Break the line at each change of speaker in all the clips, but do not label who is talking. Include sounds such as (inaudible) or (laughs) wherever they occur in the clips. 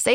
Say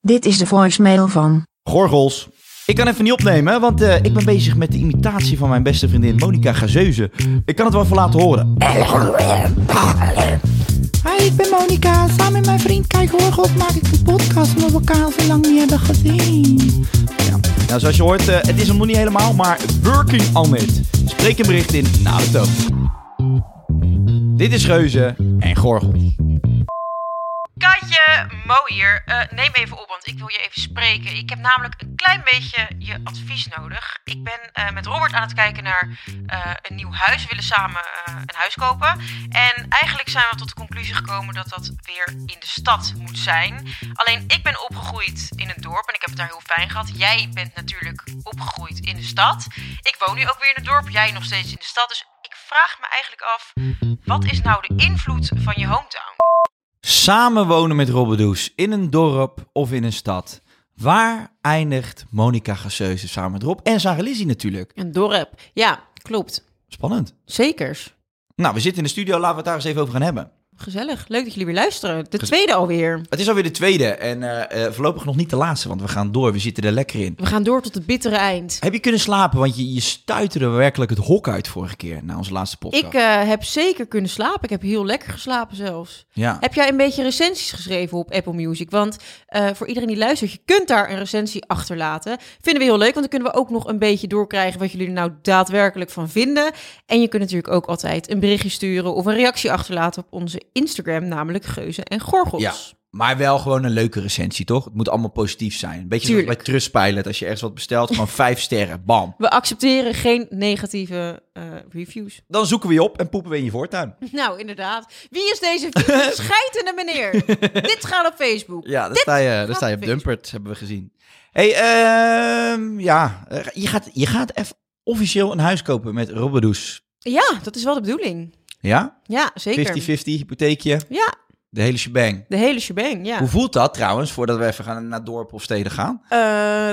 Dit is de voicemail van.
Gorgels. Ik kan even niet opnemen, want eh, ik ben bezig met de imitatie van mijn beste vriendin Monica Gazeuze. Ik kan het wel even laten horen.
Hi, ik ben Monica. Samen met mijn vriend Kijk Horgels maak ik een podcast omdat we elkaar al zo lang niet hebben gezien.
Nou, zoals je hoort, eh, het is hem nog niet helemaal, maar working on it. Spreek een bericht in na de toon. Dit is Geuze en Gorgels.
Katje, Mo hier. Eh, neem even op, want ik wil je even spreken. Ik heb namelijk een klein beetje je advies nodig. Ik ben eh, met Robert aan het kijken naar eh, een nieuw huis. We willen samen eh, een huis kopen. En eigenlijk zijn we tot de conclusie gekomen dat dat weer in de stad moet zijn. Alleen ik ben opgegroeid in een dorp en ik heb het daar heel fijn gehad. Jij bent natuurlijk opgegroeid in de stad. Ik woon nu ook weer in het dorp, jij nog steeds in de stad. Dus ik vraag me eigenlijk af, wat is nou de invloed van je hometown?
Samen wonen met Robbedoes in een dorp of in een stad. Waar eindigt Monica Gazeuze samen met Rob? En Sarah Lizzie natuurlijk.
Een dorp. Ja, klopt.
Spannend.
Zekers.
Nou, we zitten in de studio. Laten we het daar eens even over gaan hebben.
Gezellig. Leuk dat jullie weer luisteren. De tweede alweer.
Het is alweer de tweede en eh, eh, voorlopig nog niet de laatste, want we gaan door. We zitten er lekker in.
We gaan door tot het bittere eind.
Heb je kunnen slapen? Want je, je stuiterde werkelijk het hok uit vorige keer na onze laatste podcast.
Ik eh, heb zeker kunnen slapen. Ik heb heel lekker geslapen zelfs.
ja.
Heb jij een beetje recensies geschreven op Apple Music? Want eh, voor iedereen die luistert, je kunt daar een recensie achterlaten. Vinden we heel leuk, want dan kunnen we ook nog een beetje doorkrijgen wat jullie er nou daadwerkelijk van vinden. En je kunt natuurlijk ook altijd een berichtje sturen of een reactie achterlaten op onze Instagram, namelijk Geuzen en Gorgels.
Ja, maar wel gewoon een leuke recensie, toch? Het moet allemaal positief zijn. Een beetje zoals bij
Tuurlijk.
Trustpilot, als je ergens wat bestelt, gewoon vijf sterren, bam.
We accepteren geen negatieve eh, reviews.
Dan zoeken we je op en poepen we in je voortuin.
(laughs) Nou, inderdaad. Wie is deze (laughs) vieze scheitende meneer? Dit gaat op Facebook.
Ja, daar
Dit
sta je, daar
gaat
sta je op
Facebook.
Dumpert, hebben we gezien. hey, ehm, ja, eh, je gaat, je gaat even officieel een huis kopen met Robbedoes.
Ja, dat is wel de bedoeling.
Ja? 50-50,
Ja, zeker.
hypotheekje,
Ja,
de hele shebang.
de hele shebang, ja.
Hoe voelt dat trouwens, voordat we even gaan naar dorpen of steden gaan?
Eh,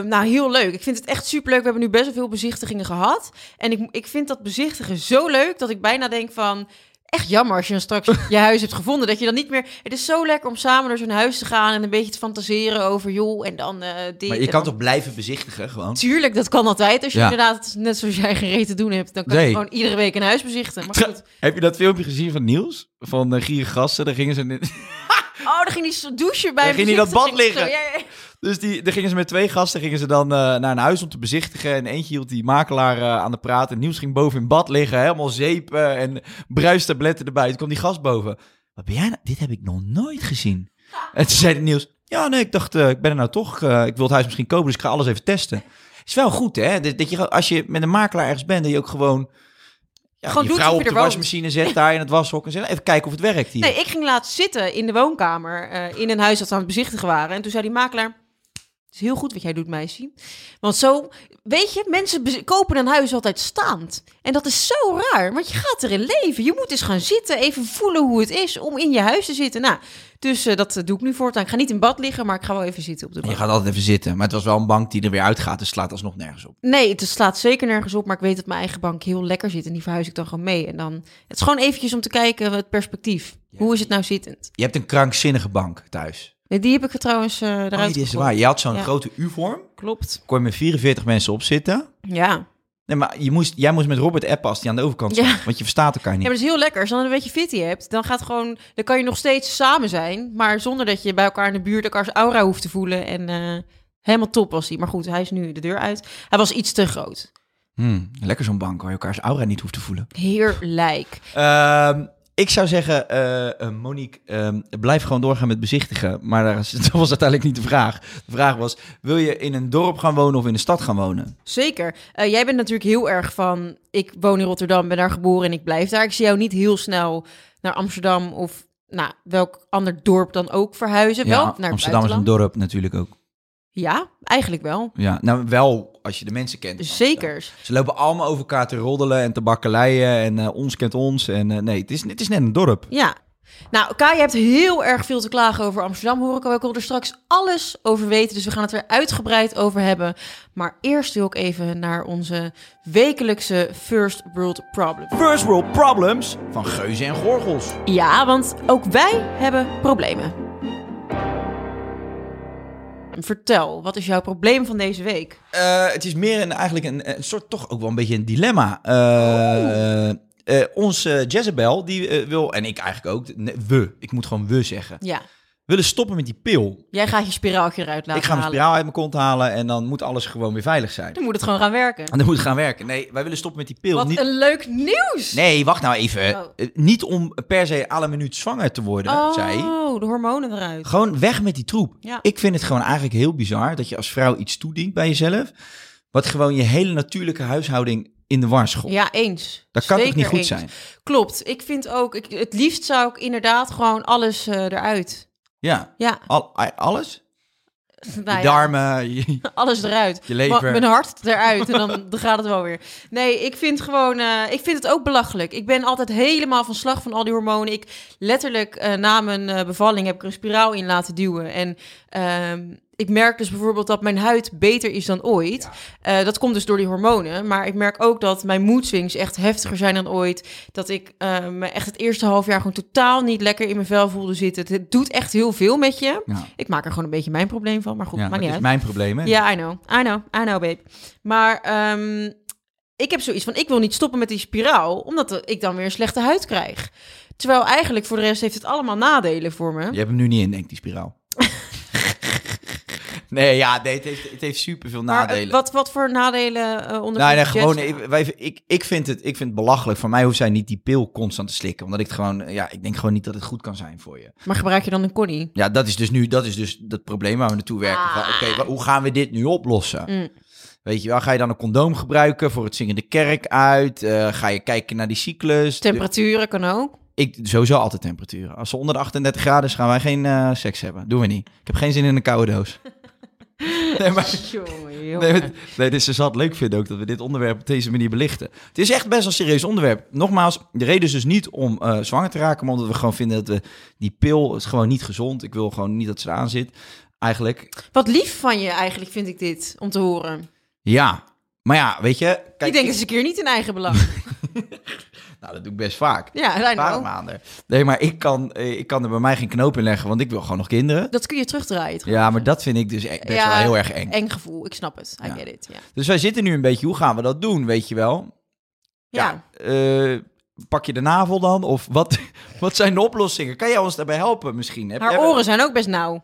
nou, heel leuk. Ik vind het echt superleuk. We hebben nu best wel veel bezichtigingen gehad. En ik, ik vind dat bezichtigen zo leuk dat ik bijna denk van... Echt jammer als je dan
(laughs)
straks je huis hebt gevonden. Dat je dan niet meer... Het is zo lekker om samen naar zo'n huis te gaan en een beetje te fantaseren over... joh, en dan eh dit
Maar je
en
kan
dan-
toch blijven bezichtigen gewoon?
Tuurlijk, dat kan altijd. Als je
Ja.
inderdaad, net zoals jij gereden te doen hebt... dan kan
Nee.
je gewoon iedere week een huis bezichten. Maar
(laughs)
goed.
Heb je dat filmpje gezien van Niels? Van de Gassen, daar gingen ze...
Oh, dan ging hij douchen bij
Dan
een
ging hij dat bad
bezichtiging.
liggen.
Zo, ja, ja.
Dus die, daar gingen ze met twee gasten gingen ze dan eh, naar een huis om te bezichtigen. En eentje hield die makelaar eh, aan de praat. En Niels ging boven in bad liggen. Helemaal zeep eh, en bruistabletten erbij. Toen kwam die gast boven. Wat ben jij nou? Dit heb ik nog nooit gezien. En toen zei de Niels... Ja, nee, ik dacht, eh, ik ben er nou toch. eh, ik wil het huis misschien kopen, dus ik ga alles even testen. Is wel goed, hè? Dat, dat je, gewoon- als je met een makelaar ergens bent, dat je ook gewoon... Ja,
Gewoon
je
doet
vrouw
of
op
je
de
er woont.
wasmachine zet daar in het washok en zegt... Even kijken of het werkt hier.
Nee, ik ging laatst zitten in de woonkamer eh, in een huis dat we aan het bezichtigen waren. En toen zei die makelaar... is heel goed wat jij doet, meisje. Want zo, weet je, mensen bez- kopen een huis altijd staand. En dat is zo raar, want je gaat erin leven. Je moet eens gaan zitten, even voelen hoe het is om in je huis te zitten. Nou, dus eh, dat eh, doe ik nu voortaan. Ik ga niet in bad liggen, maar ik ga wel even zitten op de bank.
Je gaat altijd even zitten. Maar het was wel een bank die er weer uitgaat. Dus het slaat alsnog nergens op.
Nee, het slaat zeker nergens op, maar ik weet dat mijn eigen bank heel lekker zit en die verhuis ik dan gewoon mee. En dan, het is gewoon eventjes om te kijken het perspectief. Hoe is het nou zittend?
Je hebt een krankzinnige bank thuis.
Nee, die heb ik er trouwens eh eruit
Oh, dit is
gegooid.
waar. Je had zo'n
Ja.
grote U-vorm.
Klopt.
Kon je met 44 mensen op zitten.
Ja. ja,
Nee, maar je moest, jij moest met Robert appen als die aan de overkant
Ja.
zat. Want je verstaat elkaar niet.
maar dat is heel lekker. Als je dan een beetje fitty hebt, dan gaat gewoon, dan kan je nog steeds samen zijn, maar zonder dat je bij elkaar in de buurt elkaars aura hoeft te voelen. En eh, helemaal top was hij. Maar goed, hij is nu de deur uit. Hij was iets te groot.
Hmm, lekker zo'n bank waar je elkaars aura niet hoeft te voelen.
Heerlijk.
Ehm, ik zou zeggen, eh, eh, Monique, ehm, blijf gewoon doorgaan met bezichtigen. Maar daar is- (laughs) dat was uiteindelijk niet de vraag. De vraag was, wil je in een dorp gaan wonen of in een stad gaan wonen?
Zeker. Eh, jij bent natuurlijk heel erg van. Ik woon in Rotterdam, ben daar geboren en ik blijf daar. Ik zie jou niet heel snel naar Amsterdam of nou, welk ander dorp dan ook verhuizen. wel naar het
Amsterdam is een
buitenland.
dorp natuurlijk ook.
Ja, eigenlijk wel.
Ja, nou wel als je de mensen kent.
Dus
in Amsterdam.
Zeker.
Ze lopen allemaal over elkaar te roddelen en te bakkeleien en eh, ons kent ons. En eh, nee, het is, het is net een dorp.
Ja. Nou, Kai, je hebt heel erg veel te klagen over Amsterdam, hoor ik al. Ik wil er straks alles over weten, dus we gaan het er uitgebreid over hebben. Maar eerst wil ik even naar onze wekelijkse First World Problem.
First World Problems van Geuzen en Gorgels.
Ja, want ook wij hebben problemen. Vertel, wat is jouw probleem van deze week?
Eh, het is meer een, eigenlijk een, een soort toch ook wel een beetje een dilemma. Eh, eh, onze Jezebel, die eh, wil, en ik eigenlijk ook, nee, we, ik moet gewoon we zeggen,
Ja,
willen stoppen met die pil.
jij gaat je spiraaltje eruit laten
ik ga mijn
halen.
spiraal uit mijn kont halen en dan moet alles gewoon weer veilig zijn.
Dan moet het gewoon gaan werken.
En dan moet het gaan werken. Nee, wij willen stoppen met die pil.
Wat
Niet,
een leuk nieuws!
nee, wacht nou even.
Oh.
Eh, Niet om per se alle minuut zwanger te worden, zei
Oh, de hormonen eruit.
Gewoon weg met die troep.
Ja.
Ik vind het gewoon eigenlijk heel bizar dat je als vrouw iets toedient bij jezelf, wat gewoon je hele natuurlijke huishouding in de war schopt.
Ja, eens.
Dat kan
Zeker
toch niet goed
eens.
zijn?
Klopt. Ik vind ook, ik, het liefst zou ik inderdaad gewoon alles eh, eruit.
Ja.
Ja,
Al, a- alles?
(laughs) nou ja.
je Oh, darmen, (laughs) je-
(laughs) Alles eruit.
Je lever.
Ma- Mijn hart eruit. En dan, (laughs) dan gaat het wel weer. Nee, ik vind gewoon. eh, ik vind het ook belachelijk. Ik ben altijd helemaal van slag van al die hormonen. Ik letterlijk eh, na mijn eh, bevalling heb ik er een spiraal in laten duwen. En ehm, ik merk dus bijvoorbeeld dat mijn huid beter is dan ooit. Eh, dat komt dus door die hormonen. Maar ik merk ook dat mijn mood swings echt heftiger zijn dan ooit. Dat ik eh, me echt het eerste half jaar gewoon totaal niet lekker in mijn vel voelde zitten. Het doet echt heel veel met je.
Ja.
Ik maak er gewoon een beetje mijn probleem van. Maar goed,
ja,
maakt
dat
niet
is
uit.
mijn probleem. Hè?
Ja, I know. I know. I know, babe. Maar ehm, ik heb zoiets van, ik wil niet stoppen met die spiraal, omdat ik dan weer een slechte huid krijg. Terwijl eigenlijk voor de rest heeft het allemaal nadelen voor me.
Je hebt hem nu niet in, denk ik, die
(laughs)
spiraal. nee, ja, nee, het heeft, het heeft superveel
maar eh,
nadelen.
wat, wat voor nadelen eh onder
Nee, nee, gewoon, ik, wij, ik, ik, vind het, ik vind het belachelijk. Voor mij hoeft zij niet die pil constant te slikken. Omdat ik het gewoon, ja, ik denk gewoon niet dat het goed kan zijn voor je.
Maar gebruik je dan een connie?
Ja, dat is dus nu, dat is dus dat probleem waar we naartoe werken. Van, Oké, wa- hoe gaan we dit nu oplossen?
Mm.
Weet je wel, ga je dan een condoom gebruiken voor het zingen de kerk uit? Eh, ga je kijken naar die cyclus? De-
Temperaturen kan ook.
Ik sowieso altijd temperaturen. Als ze onder de 38 graden is, gaan wij geen eh, seks hebben. Doen we niet. Ik heb geen zin in een koude doos. nee, maar,
Jongen,
nee,
jongen.
maar- nee, dus ze zal het leuk vinden ook dat we dit onderwerp op deze manier belichten. Het is echt best een serieus onderwerp. Nogmaals, de reden is dus niet om eh, zwanger te raken, maar omdat we gewoon vinden dat we die pil is gewoon niet gezond. Ik wil gewoon niet dat ze eraan zit. Eigenlijk,
Wat lief van je eigenlijk vind ik dit, om te horen.
ja. Maar ja, weet je,
ik
kijk,
denk eens een keer niet in eigen
(laughs)
belang.
nou, dat doe ik best vaak.
ja, nou. I
Paar
know.
maanden. Nee, maar ik kan, eh, ik kan er bij mij geen knoop in leggen, want ik wil gewoon nog kinderen.
Dat kun je terugdraaien. trouwens.
Ja, maar dat vind ik dus e- best
Ja,
wel heel erg eng.
Eng gevoel, ik snap het. I
Ja.
get it. Ja.
Dus wij zitten nu een beetje, hoe gaan we dat doen, weet je wel?
ja.
eh, pak je de navel dan? Of wat, (laughs) wat zijn de oplossingen? Kan jij ons daarbij helpen misschien? Heb
Haar
jij-
oren zijn ook best nauw.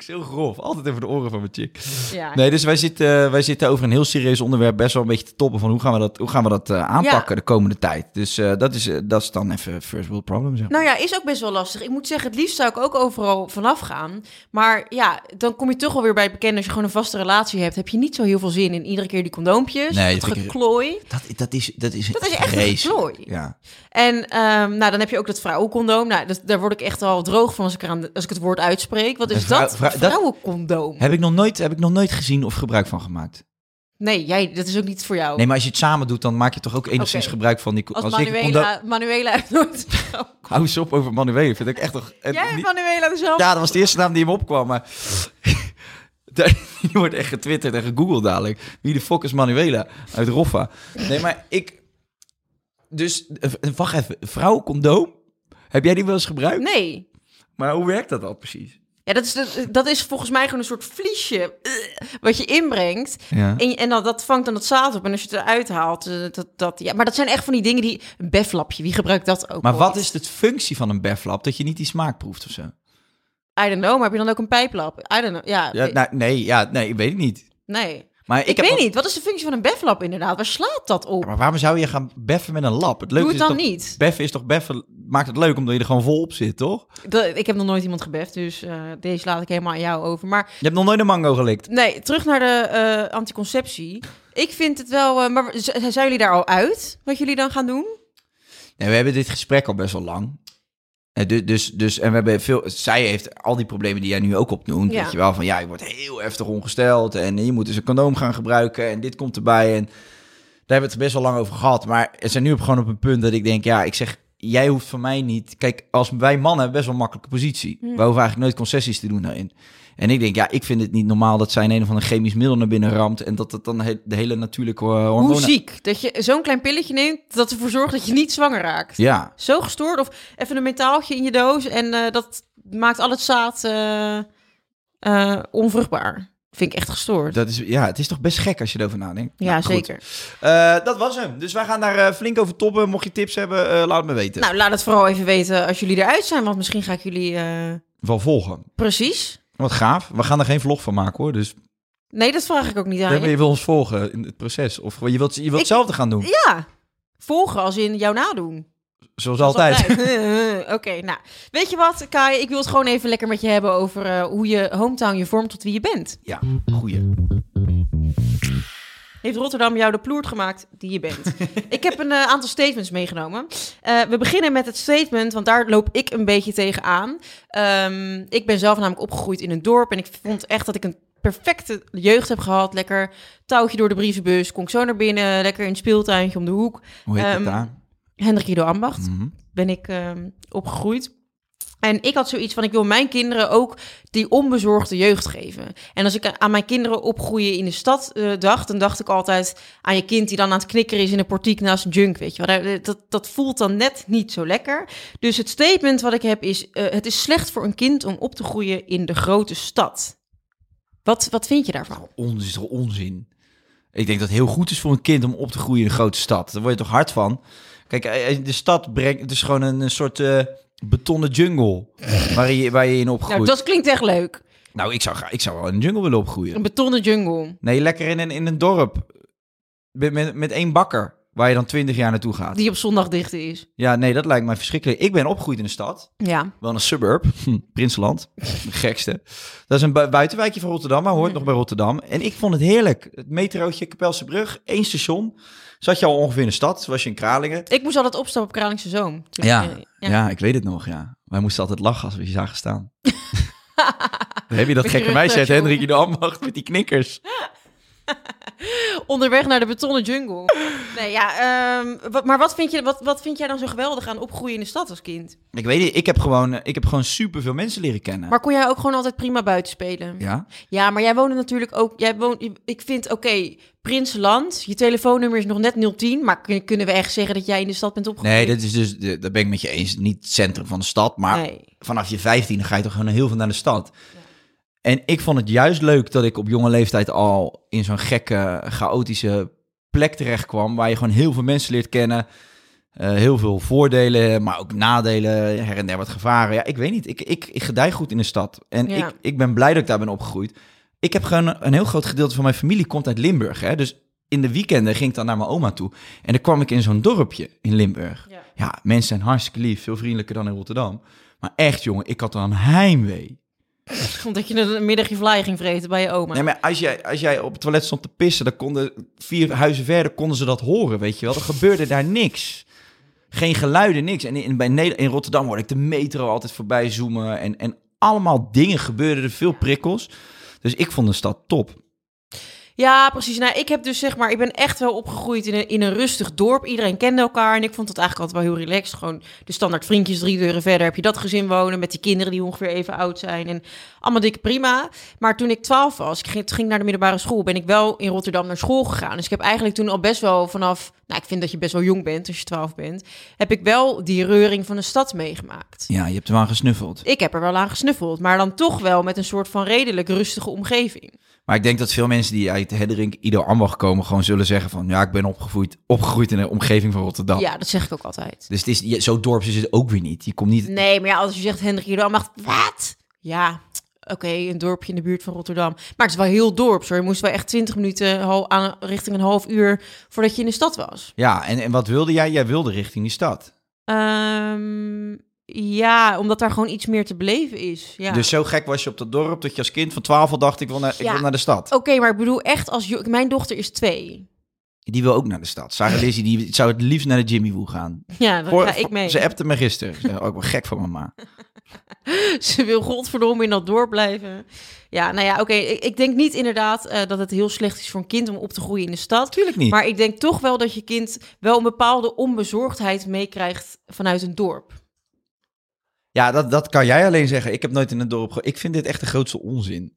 Vind ik heel grof. Altijd even de oren van mijn chick.
Ja.
Nee, dus wij zitten, eh, wij zitten over een heel serieus onderwerp best wel een beetje te toppen van hoe gaan we dat, hoe gaan we dat eh, aanpakken de komende tijd. Dus eh, dat, is, eh, dat is dan even first world problem. Zeg. maar.
Nou ja, is ook best wel lastig. Ik moet zeggen, het liefst zou ik ook overal vanaf gaan. Maar ja, dan kom je toch alweer bij het bekende. Als je gewoon een vaste relatie hebt, heb je niet zo heel veel zin in iedere keer die condoompjes.
Nee,
dat
dat vind ik-
geklooi.
dat, dat is, dat is,
Dat is echt een
vreselijk.
geklooi.
Ja.
En ehm, nou, dan heb je ook dat vrouwencondoom. Nou, dat, daar word ik echt al droog van als ik, eraan, als ik het woord uitspreek. Wat is
Een vrouw-
dat?
vrou- dat-
vrouwencondoom.
Heb ik, nog nooit, heb ik nog nooit gezien of gebruik van gemaakt.
Nee, jij, dat is ook niet voor jou.
Nee, maar als je het samen doet, dan maak je toch ook enigszins
Oké.
gebruik van die... co-
als
ik condo-
Manuela, Manuela (laughs) heeft nooit...
Hou eens op over Manuel. Vind ik echt toch... en
jij hebt
die-
Manuela dus wel.
Ja, dat was de eerste naam die hem opkwam. Maar (laughs) die wordt echt getwitterd en gegoogeld dadelijk. Wie de fuck is Manuela uit Roffa? Nee, maar ik... Dus, eh, wacht even. Vrouwencondoom? Heb jij die wel eens gebruikt?
Nee.
Maar hoe werkt dat dan precies?
Ja, dat is, dat, dat is volgens mij gewoon een soort vliesje eh, wat je inbrengt.
Ja.
En, je- en dat, dat vangt dan het zaad op. En als je het eruit haalt, eh, dat, dat, ja. Maar dat zijn echt van die dingen die... Een beflapje, wie gebruikt dat ook
Maar
ooit?
wat is de functie van een beflap? Dat je niet die smaak proeft of zo?
I don't know, maar heb je dan ook een pijplap? I don't know, ja.
Ja,
eh,
nou, nee, ja, nee, ik weet het niet.
nee. Ik,
Maar ik, heb
weet
nog-
niet, wat is de functie van een beflap inderdaad? Waar slaat dat op?
Maar waarom zou je gaan beffen met een lap? Het leuke
Doe het dan
is toch,
niet.
Beffen is toch beffen, maakt het leuk omdat je er gewoon vol op zit, toch?
Dat- ik heb nog nooit iemand gebeft, dus eh, deze laat ik helemaal aan jou over. Maar
Je hebt nog nooit een mango gelikt.
nee, terug naar de eh, anticonceptie. Ik vind het wel... eh, maar z- zijn jullie daar al uit, wat jullie dan gaan doen?
Nee, we hebben dit gesprek al best wel lang. Eh, du- Dus, dus, en we hebben veel, zij heeft al die problemen die jij nu ook opnoemt.
Ja.
Weet je wel, van ja, je wordt heel heftig ongesteld en je moet dus een condoom gaan gebruiken en dit komt erbij. En daar hebben we het best wel lang over gehad. Maar we zijn nu op, gewoon op een punt dat ik denk, ja, ik zeg, jij hoeft van mij niet. Kijk, als wij mannen hebben best wel een makkelijke positie.
Hmm.
We hoeven eigenlijk nooit concessies te doen daarin. En ik denk, ja, ik vind het niet normaal dat zij een, een of ander chemisch middel naar binnen ramt en dat dat dan he- de hele natuurlijke eh, hormonen...
Hoe ziek dat je zo'n klein pilletje neemt dat ervoor zorgt dat je niet zwanger raakt.
Ja.
Zo gestoord of even een metaaltje in je doos en eh, dat maakt al het zaad eh, eh, onvruchtbaar. Vind ik echt gestoord.
Dat is, ja, het is toch best gek als je erover nadenkt.
ja,
Nou, goed.
zeker.
Eh, dat was hem. Dus wij gaan daar eh, flink over toppen. Mocht je tips hebben, eh, laat het me weten.
Nou, laat het vooral even weten als jullie eruit zijn, want misschien ga ik jullie eh,
Wel volgen.
precies.
Wat gaaf. We gaan er geen vlog van maken hoor. Dus
Nee, dat vraag ik ook niet aan.
Nee, maar
je.
je wil ons volgen in het proces. Of je wilt, je wilt
Ik-
hetzelfde gaan doen.
Ja, volgen als in jou nadoen.
Zoals
Als
altijd.
altijd. (laughs) Oké, nou. Weet je wat, Kai? Ik wil het gewoon even lekker met je hebben over eh, hoe je hometown je vormt tot wie je bent.
Ja, goeie.
Heeft Rotterdam jou de ploert gemaakt die je
(laughs)
bent? ik heb een eh, aantal statements meegenomen. Eh, we beginnen met het statement, want daar loop ik een beetje tegenaan. Ehm ik ben zelf namelijk opgegroeid in een dorp en ik vond echt dat ik een perfecte jeugd heb gehad. Lekker touwtje door de brievenbus, kon ik zo naar binnen, lekker in het speeltuintje om de hoek.
Hoe heet
Ehm,
dat daar?
Hendrik Ido Ambacht
Mhm.
ben ik ehm, opgegroeid. En ik had zoiets van, ik wil mijn kinderen ook die onbezorgde jeugd geven. En als ik aan mijn kinderen opgroeien in de stad eh, dacht, dan dacht ik altijd aan je kind die dan aan het knikkeren is in een portiek naast een junk, weet je wel. Daar- eh, Dat, dat voelt dan net niet zo lekker. Dus het statement wat ik heb is, eh, het is slecht voor een kind om op te groeien in de grote stad. Wat, wat vind je daarvan?
Ons is toch onzin? Ik denk dat het heel goed is voor een kind om op te groeien in een grote stad. Daar word je toch hard van? Kijk, eh, eh, de stad brengt... Het is gewoon een, een soort eh, betonnen
(laughs)
jungle waar je, waar je in opgroeit.
Nou, dat klinkt echt leuk.
Nou, ik, zou, gra- ik zou wel in een jungle willen opgroeien.
Een betonnen jungle.
Nee, lekker in een, in een dorp. Met, met, met één bakker, waar je dan twintig jaar naartoe gaat.
Die op zondag dicht is.
Ja, nee, dat lijkt mij verschrikkelijk. Ik ben opgegroeid in een stad,
Ja.
wel een suburb, hm, Prinseland, (laughs) de gekste. Dat is een bu- buitenwijkje van Rotterdam, maar hoort nog bij Rotterdam. En ik vond het heerlijk. Het metrootje, Kapelse Brug, één station. Zat je al ongeveer in de stad, was je in Kralingen.
Ik moest altijd opstappen op Kralingse Zoom. Dus, eh,
ik weet het nog, ja. Wij moesten altijd lachen als we je zagen
(laughs)
staan. Dan heb je dat
Met je
gekke meisje uit
rugzakje
Hendrik in de Ambacht met die knikkers.
Onderweg naar de betonnen
(laughs)
jungle. Nee, ja, ehm, wat- maar wat vind, je, wat, wat vind jij dan zo geweldig aan opgroeien in de stad als kind?
Ik weet niet, ik heb gewoon, ik heb gewoon superveel mensen leren kennen.
Maar kon jij ook gewoon altijd prima buiten spelen?
Ja?
Ja, maar jij woonde natuurlijk ook... Jij woont, ik vind, oké, Prinsenland, je telefoonnummer is nog net 010... maar kun- kunnen we echt zeggen dat jij in de stad bent opgegroeid?
Nee, dat is dus, de- daar ben ik met je eens. Niet het centrum van de stad, maar
Nee. (laughs)
vanaf je 15 ga je toch gewoon heel veel naar de stad. En ik vond het juist leuk dat ik op jonge leeftijd al in zo'n gekke, chaotische plek terecht kwam. Waar je gewoon heel veel mensen leert kennen. Eh, heel veel voordelen, maar ook nadelen, her en der wat gevaren. Ja, ik weet niet. Ik, ik, ik gedij goed in de stad. En
Ja.
ik, ik ben blij dat ik daar ben opgegroeid. Ik heb gewoon een heel groot gedeelte van mijn familie komt uit Limburg. Hè? Dus in de weekenden ging ik dan naar mijn oma toe. En dan kwam ik in zo'n dorpje in Limburg.
Ja.
Ja. mensen zijn hartstikke lief. Veel vriendelijker dan in Rotterdam. Maar echt, jongen, ik had dan heimwee.
Omdat je een middagje vlaai ging vreten bij je oma.
Nee, maar als jij, als jij op het toilet stond te pissen, dan konden vier huizen verder konden ze dat horen, weet je wel. Er gebeurde daar niks. Geen geluiden, niks. En in, bij Neder- in Rotterdam hoorde ik de metro altijd voorbij zoomen. En, en allemaal dingen gebeurden er, veel prikkels. Dus ik vond de stad top.
Ja, precies. Nou, ik heb dus zeg maar, ik ben echt wel opgegroeid in een, in een rustig dorp. Iedereen kende elkaar en ik vond het eigenlijk altijd wel heel relaxed. Gewoon de standaard vriendjes drie deuren verder heb je dat gezin wonen met die kinderen die ongeveer even oud zijn en allemaal dikke prima. Maar toen ik twaalf was, ik ging, toen ging ik naar de middelbare school, ben ik wel in Rotterdam naar school gegaan. Dus ik heb eigenlijk toen al best wel vanaf, nou, ik vind dat je best wel jong bent als je twaalf bent, heb ik wel die reuring van de stad meegemaakt.
Ja, je hebt er wel aan gesnuffeld.
Ik heb er wel aan gesnuffeld, maar dan toch wel met een soort van redelijk rustige omgeving.
Maar ik denk dat veel mensen die uit Hedderink, Ido, Ambacht komen... gewoon zullen zeggen van... ja, ik ben opgegroeid, opgegroeid in de omgeving van Rotterdam.
Ja, dat zeg ik ook altijd.
Dus het is, je- zo dorps is het ook weer niet. Je komt niet...
Nee, maar ja, als je zegt Hendrik Ido Ambacht, wat? Ja, oké, een dorpje in de buurt van Rotterdam. Maar het is wel heel dorps hoor. Je moest wel echt 20 minuten hal- aan, richting een half uur voordat je in de stad was.
Ja, en, en wat wilde jij? Jij wilde richting die stad.
Ehm, ja, omdat daar gewoon iets meer te beleven is. Ja.
Dus zo gek was je op dat dorp dat je als kind van 12 al dacht: ik wil naar, ik
Ja.
wil naar de stad.
Oké, maar ik bedoel echt als... jo- Mijn dochter is twee.
Die wil ook naar de stad. Sarah Lizzie die zou het liefst naar de Jimmy Woo gaan.
(laughs) Ja, dan
Voor-
ga ik mee.
Ze appte me gisteren. Ze zei, oh, ik ben gek van mama.
(laughs) Ze wil godverdomme in dat dorp blijven. Ja, nou ja, oké. ik, ik denk niet inderdaad eh, dat het heel slecht is voor een kind om op te groeien in de stad.
Tuurlijk niet.
Maar ik denk toch wel dat je kind wel een bepaalde onbezorgdheid meekrijgt vanuit een dorp.
Ja, dat, dat kan jij alleen zeggen. Ik heb nooit in een dorp. ge- Ik vind dit echt de grootste onzin.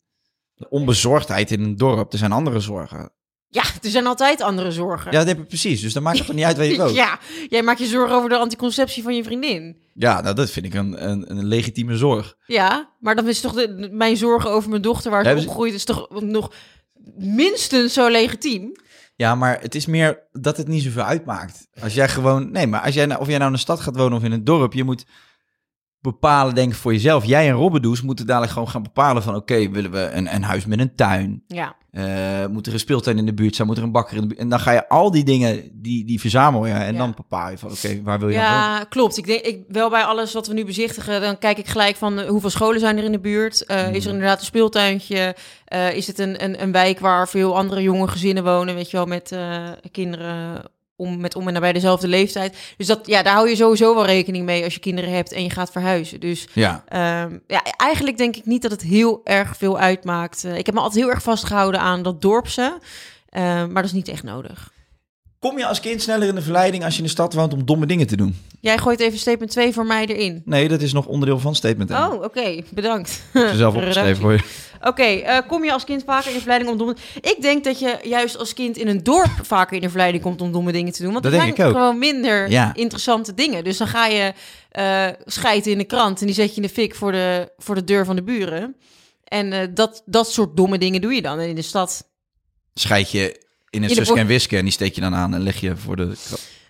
De onbezorgdheid in een dorp. Er zijn andere zorgen.
Ja, er zijn altijd andere zorgen.
Ja,
(laughs)
dat heb je precies. Dus dan maakt het toch niet uit waar je woont.
Ja, jij maakt je zorgen over de anticonceptie van je vriendin.
Ja, nou, dat vind ik een, een, een legitieme zorg.
Ja, maar dan is toch de, mijn zorgen over mijn dochter waar ze
Hebben ze-
opgroeit, is toch nog minstens zo legitiem?
Ja, maar het is meer dat het niet zoveel uitmaakt. Als jij gewoon. Nee, maar als jij, nou- of jij nou in de stad gaat wonen of in een dorp, je moet bepalen, denk ik, voor jezelf. Jij en Robbedoes moeten dadelijk gewoon gaan bepalen van oké, willen we een, een huis met een tuin?
Ja.
Eh, moet er een speeltuin in de buurt zijn? Moet er een bakker in de buurt? En dan ga je al die dingen, die, die verzamel je. En
Ja.
dan bepaal je van oké, waar wil je aan wonen?
Ja, klopt. Ik denk ik, wel bij alles wat we nu bezichtigen, dan kijk ik gelijk van eh, hoeveel scholen zijn er in de buurt. Eh, Is er inderdaad een speeltuintje? Eh, is het een, een, een wijk waar veel andere jonge gezinnen wonen, weet je wel, met eh, kinderen om, met om en nabij dezelfde leeftijd. Dus dat, ja, daar hou je sowieso wel rekening mee als je kinderen hebt en je gaat verhuizen. Dus
Ja.
ehm, ja, eigenlijk denk ik niet dat het heel erg veel uitmaakt. Eh, ik heb me altijd heel erg vastgehouden aan dat dorpse, eh, maar dat is niet echt nodig.
Kom je als kind sneller in de verleiding als je in de stad woont om domme dingen te doen?
Jij gooit even statement 2 voor mij erin.
Nee, dat is nog onderdeel van statement. één.
Oh, oké. Bedankt.
Ik heb
(laughs)
ze zelf opgeschreven voor je.
Oké, eh, kom je als kind vaker in de verleiding om domme... Ik denk dat je juist als kind in een dorp vaker in de verleiding komt om domme dingen te doen. Want
Dat
er
denk
zijn
ik ook.
gewoon minder
Ja.
interessante dingen. Dus dan ga je eh schijten in de krant en die zet je in de fik voor de, voor de deur van de buren. En eh, dat, dat soort domme dingen doe je dan. En in de stad
Scheid je in het
In de
zusken en
por-
wisken en die steek je dan aan en leg je voor de...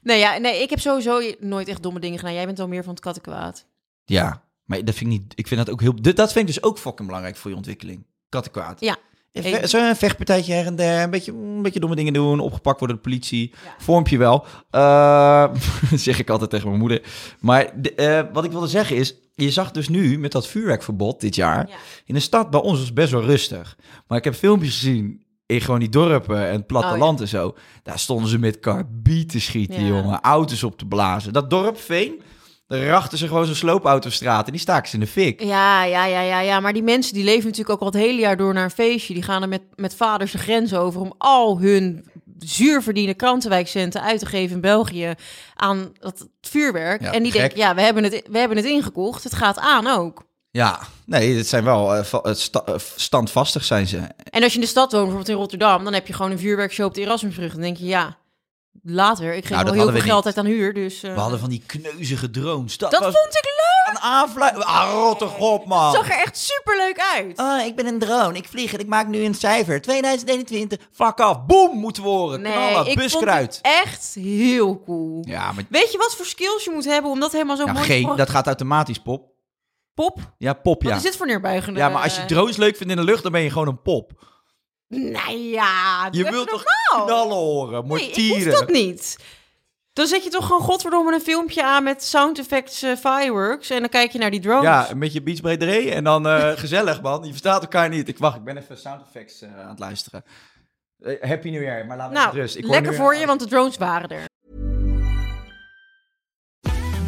Nee, ja, nee, ik heb sowieso nooit echt domme dingen gedaan. Jij bent al meer van het kattenkwaad.
Ja, maar dat vind ik niet. Ik vind dat ook heel. dit- Dat vind ik dus ook fucking belangrijk voor je ontwikkeling. Kattenkwaad.
Ja.
Even Zo'n vechtpartijtje her en der, een beetje, mm, een beetje domme dingen doen, opgepakt worden door de politie. Vormpje wel. Eh, (laughs) zeg ik altijd tegen mijn moeder. Maar de- eh, wat ik wilde zeggen is, je zag dus nu met dat vuurwerkverbod dit jaar,
Ja.
in de stad bij ons was het best wel rustig. Maar ik heb filmpjes gezien in gewoon die dorpen en het platteland en zo. Daar stonden ze met karbiet te schieten,
Oh, Ja.
jongen. Auto's op te blazen. Dat dorp Veen, daar rachten ze gewoon zo'n sloopauto straat en die staken ze in de fik.
Ja, ja, ja, ja, ja. Maar die mensen die leven natuurlijk ook al het hele jaar door naar een feestje. Die gaan er met, met vaders de grens over om al hun zuurverdiende krantenwijkcenten uit te geven in België aan dat vuurwerk.
Ja,
en die
gek.
denken, ja, we hebben, het, we hebben het ingekocht. Het gaat aan ook.
Ja, nee, het zijn wel eh, va- eh, sta- eh, standvastig zijn ze.
En als je in de stad woont, bijvoorbeeld in Rotterdam, dan heb je gewoon een vuurwerkshow op de Erasmusbrug. Dan denk je, ja, later. Ik geef
Nou, dat
al heel
hadden we
veel geld
niet.
uit aan huur, dus... eh,
We hadden van die kneuzige drones.
dat
was-
vond ik leuk!
aan aanvluiten. Ah, rot toch op, man.
Zag er echt superleuk uit.
Ah, ik ben een drone, ik vlieg en ik maak nu een cijfer. 2021, fuck af. Boom, moeten we horen. Knallen,
ik vond
buskruid.
het echt heel cool.
Ja, maar
Weet je wat voor skills je moet hebben om dat helemaal zo
ja,
mooi
Nou, geen,
te
dat gaat automatisch, pop.
Pop? Wat
Ja, pop, ja.
is dit voor neerbuigende?
Ja, maar als je drones leuk vindt in de lucht, dan ben je gewoon een pop.
Nou ja,
Je
dat
wilt
is
toch
normaal?
knallen horen,
Nee, ik hoef
mortieren.
dat niet. Dan zet je toch gewoon godverdomme een filmpje aan met sound effects eh, fireworks en dan kijk je naar die drones.
ja, een beetje Beach Breederee en dan eh, (laughs) gezellig, man. Je verstaat elkaar niet. Ik wacht, ik ben even sound effects eh, aan het luisteren. Eh, happy New Year, maar laat me
nou,
met rust. dus, Ik hoor
lekker
nu-
voor je, want de drones waren er.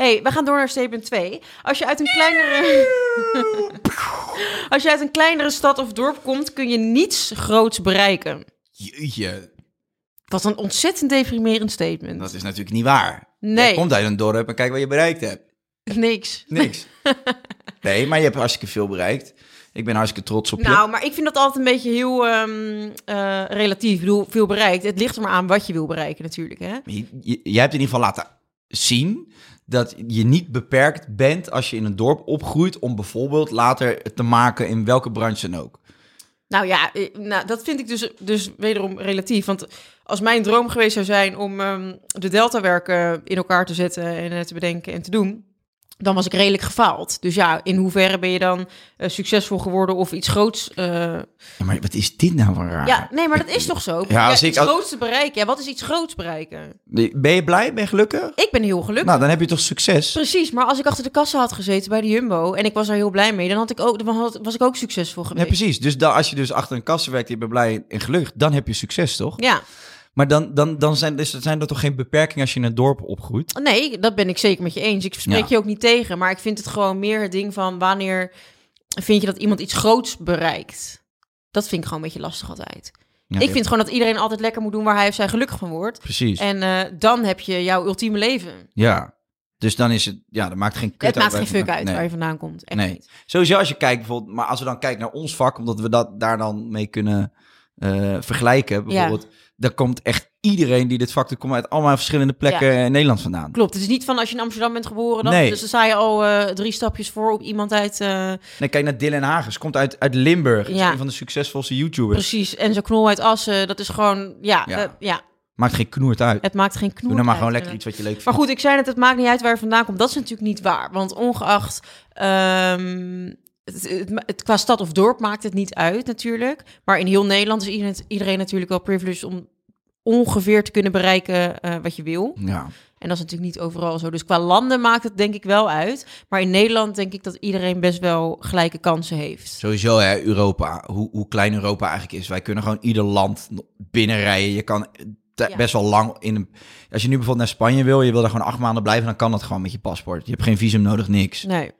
hey, we gaan door naar statement 2. Als je uit een kleinere... (laughs) Als je uit een kleinere stad of dorp komt, kun je niets groots bereiken.
Jeetje,
Wat een ontzettend deprimerend statement.
dat is natuurlijk niet waar.
Nee.
Je komt uit een dorp en kijk wat je bereikt hebt.
Niks.
Niks.
(laughs)
nee, maar je hebt hartstikke veel bereikt. Ik ben hartstikke trots op je.
Nou, maar ik vind dat altijd een beetje heel ehm, eh, relatief. Ik bedoel, veel bereikt. Het ligt er maar aan wat je wil bereiken natuurlijk, hè?
Je- je- Jij hebt in ieder geval laten zien dat je niet beperkt bent als je in een dorp opgroeit om bijvoorbeeld later het te maken in welke branche dan ook.
Nou ja, eh, nou, dat vind ik dus, dus wederom relatief. Want als mijn droom geweest zou zijn om ehm, de deltawerken in elkaar te zetten en eh, te bedenken en te doen, dan was ik redelijk gefaald. Dus ja, in hoeverre ben je dan eh, succesvol geworden of iets groots? eh,
Ja, maar wat is dit nou voor raar?
Ja, nee, maar dat is toch zo?
Ja, als ik-
iets
als-
groots te bereiken. Ja, wat is iets groots bereiken?
Ben je blij? Ben je gelukkig?
Ik ben heel gelukkig.
Nou, dan heb je toch succes?
Precies, maar als ik achter de kassa had gezeten bij de Jumbo en ik was daar heel blij mee, dan, had ik ook, dan had- was ik ook succesvol
Ja,
geweest.
precies. Dus dan, als je dus achter een kassa werkt, je bent blij en gelukkig, dan heb je succes, toch?
Ja,
Maar dan, dan, dan zijn, dus, zijn er toch geen beperkingen als je in een dorp opgroeit?
nee, dat ben ik zeker met je eens. Ik spreek
Ja.
je ook niet tegen, maar ik vind het gewoon meer het ding van wanneer vind je dat iemand iets groots bereikt. Dat vind ik gewoon een beetje lastig altijd.
Ja,
ik vind gewoon dat iedereen altijd lekker moet doen waar hij of zij gelukkig van wordt.
Precies.
En eh, dan heb je jouw ultieme leven.
Ja. Dus dan is het, ja, dat maakt geen kut
het maakt geen
uit.
fuck uit
Nee.
waar je vandaan komt. Echt
Nee.
niet.
Sowieso als je kijkt bijvoorbeeld, maar als we dan kijken naar ons vak, omdat we dat daar dan mee kunnen eh, vergelijken, bijvoorbeeld, dan komt echt iedereen die dit vak doet, komt uit allemaal verschillende plekken in Nederland vandaan.
Klopt, het is niet van als je in Amsterdam bent geboren, dan,
Nee.
dus dan sta je al eh, drie stapjes voor op iemand uit... eh,
Nee, kijk naar Dylan Hagens, komt uit, uit Limburg, is
Ja.
een van de succesvolste YouTubers.
Precies, en zo'n knol uit Assen, dat is gewoon, ja,
Ja.
ja. ja
Maakt geen knoert uit.
het maakt geen knoer
Doe nou maar
uit,
gewoon lekker
eh.
iets wat je leuk vindt.
Maar goed, ik zei net, het maakt niet uit waar je vandaan komt. Dat is natuurlijk niet waar, want ongeacht, ehm, het, het, ma- het- qua stad of dorp maakt het niet uit natuurlijk. Maar in heel Nederland is iedereen, iedereen natuurlijk wel privileged om ongeveer te kunnen bereiken eh, wat je wil.
Ja.
En dat is natuurlijk niet overal zo. Dus qua landen maakt het denk ik wel uit. Maar in Nederland denk ik dat iedereen best wel gelijke kansen heeft.
Sowieso, hè, Europa. Hoe, hoe klein Europa eigenlijk is. Wij kunnen gewoon ieder land binnenrijden. Je kan te-
Ja.
best wel lang in een... Als je nu bijvoorbeeld naar Spanje wil, je wil daar gewoon acht maanden blijven, dan kan dat gewoon met je paspoort. Je hebt geen visum nodig, niks.
Nee.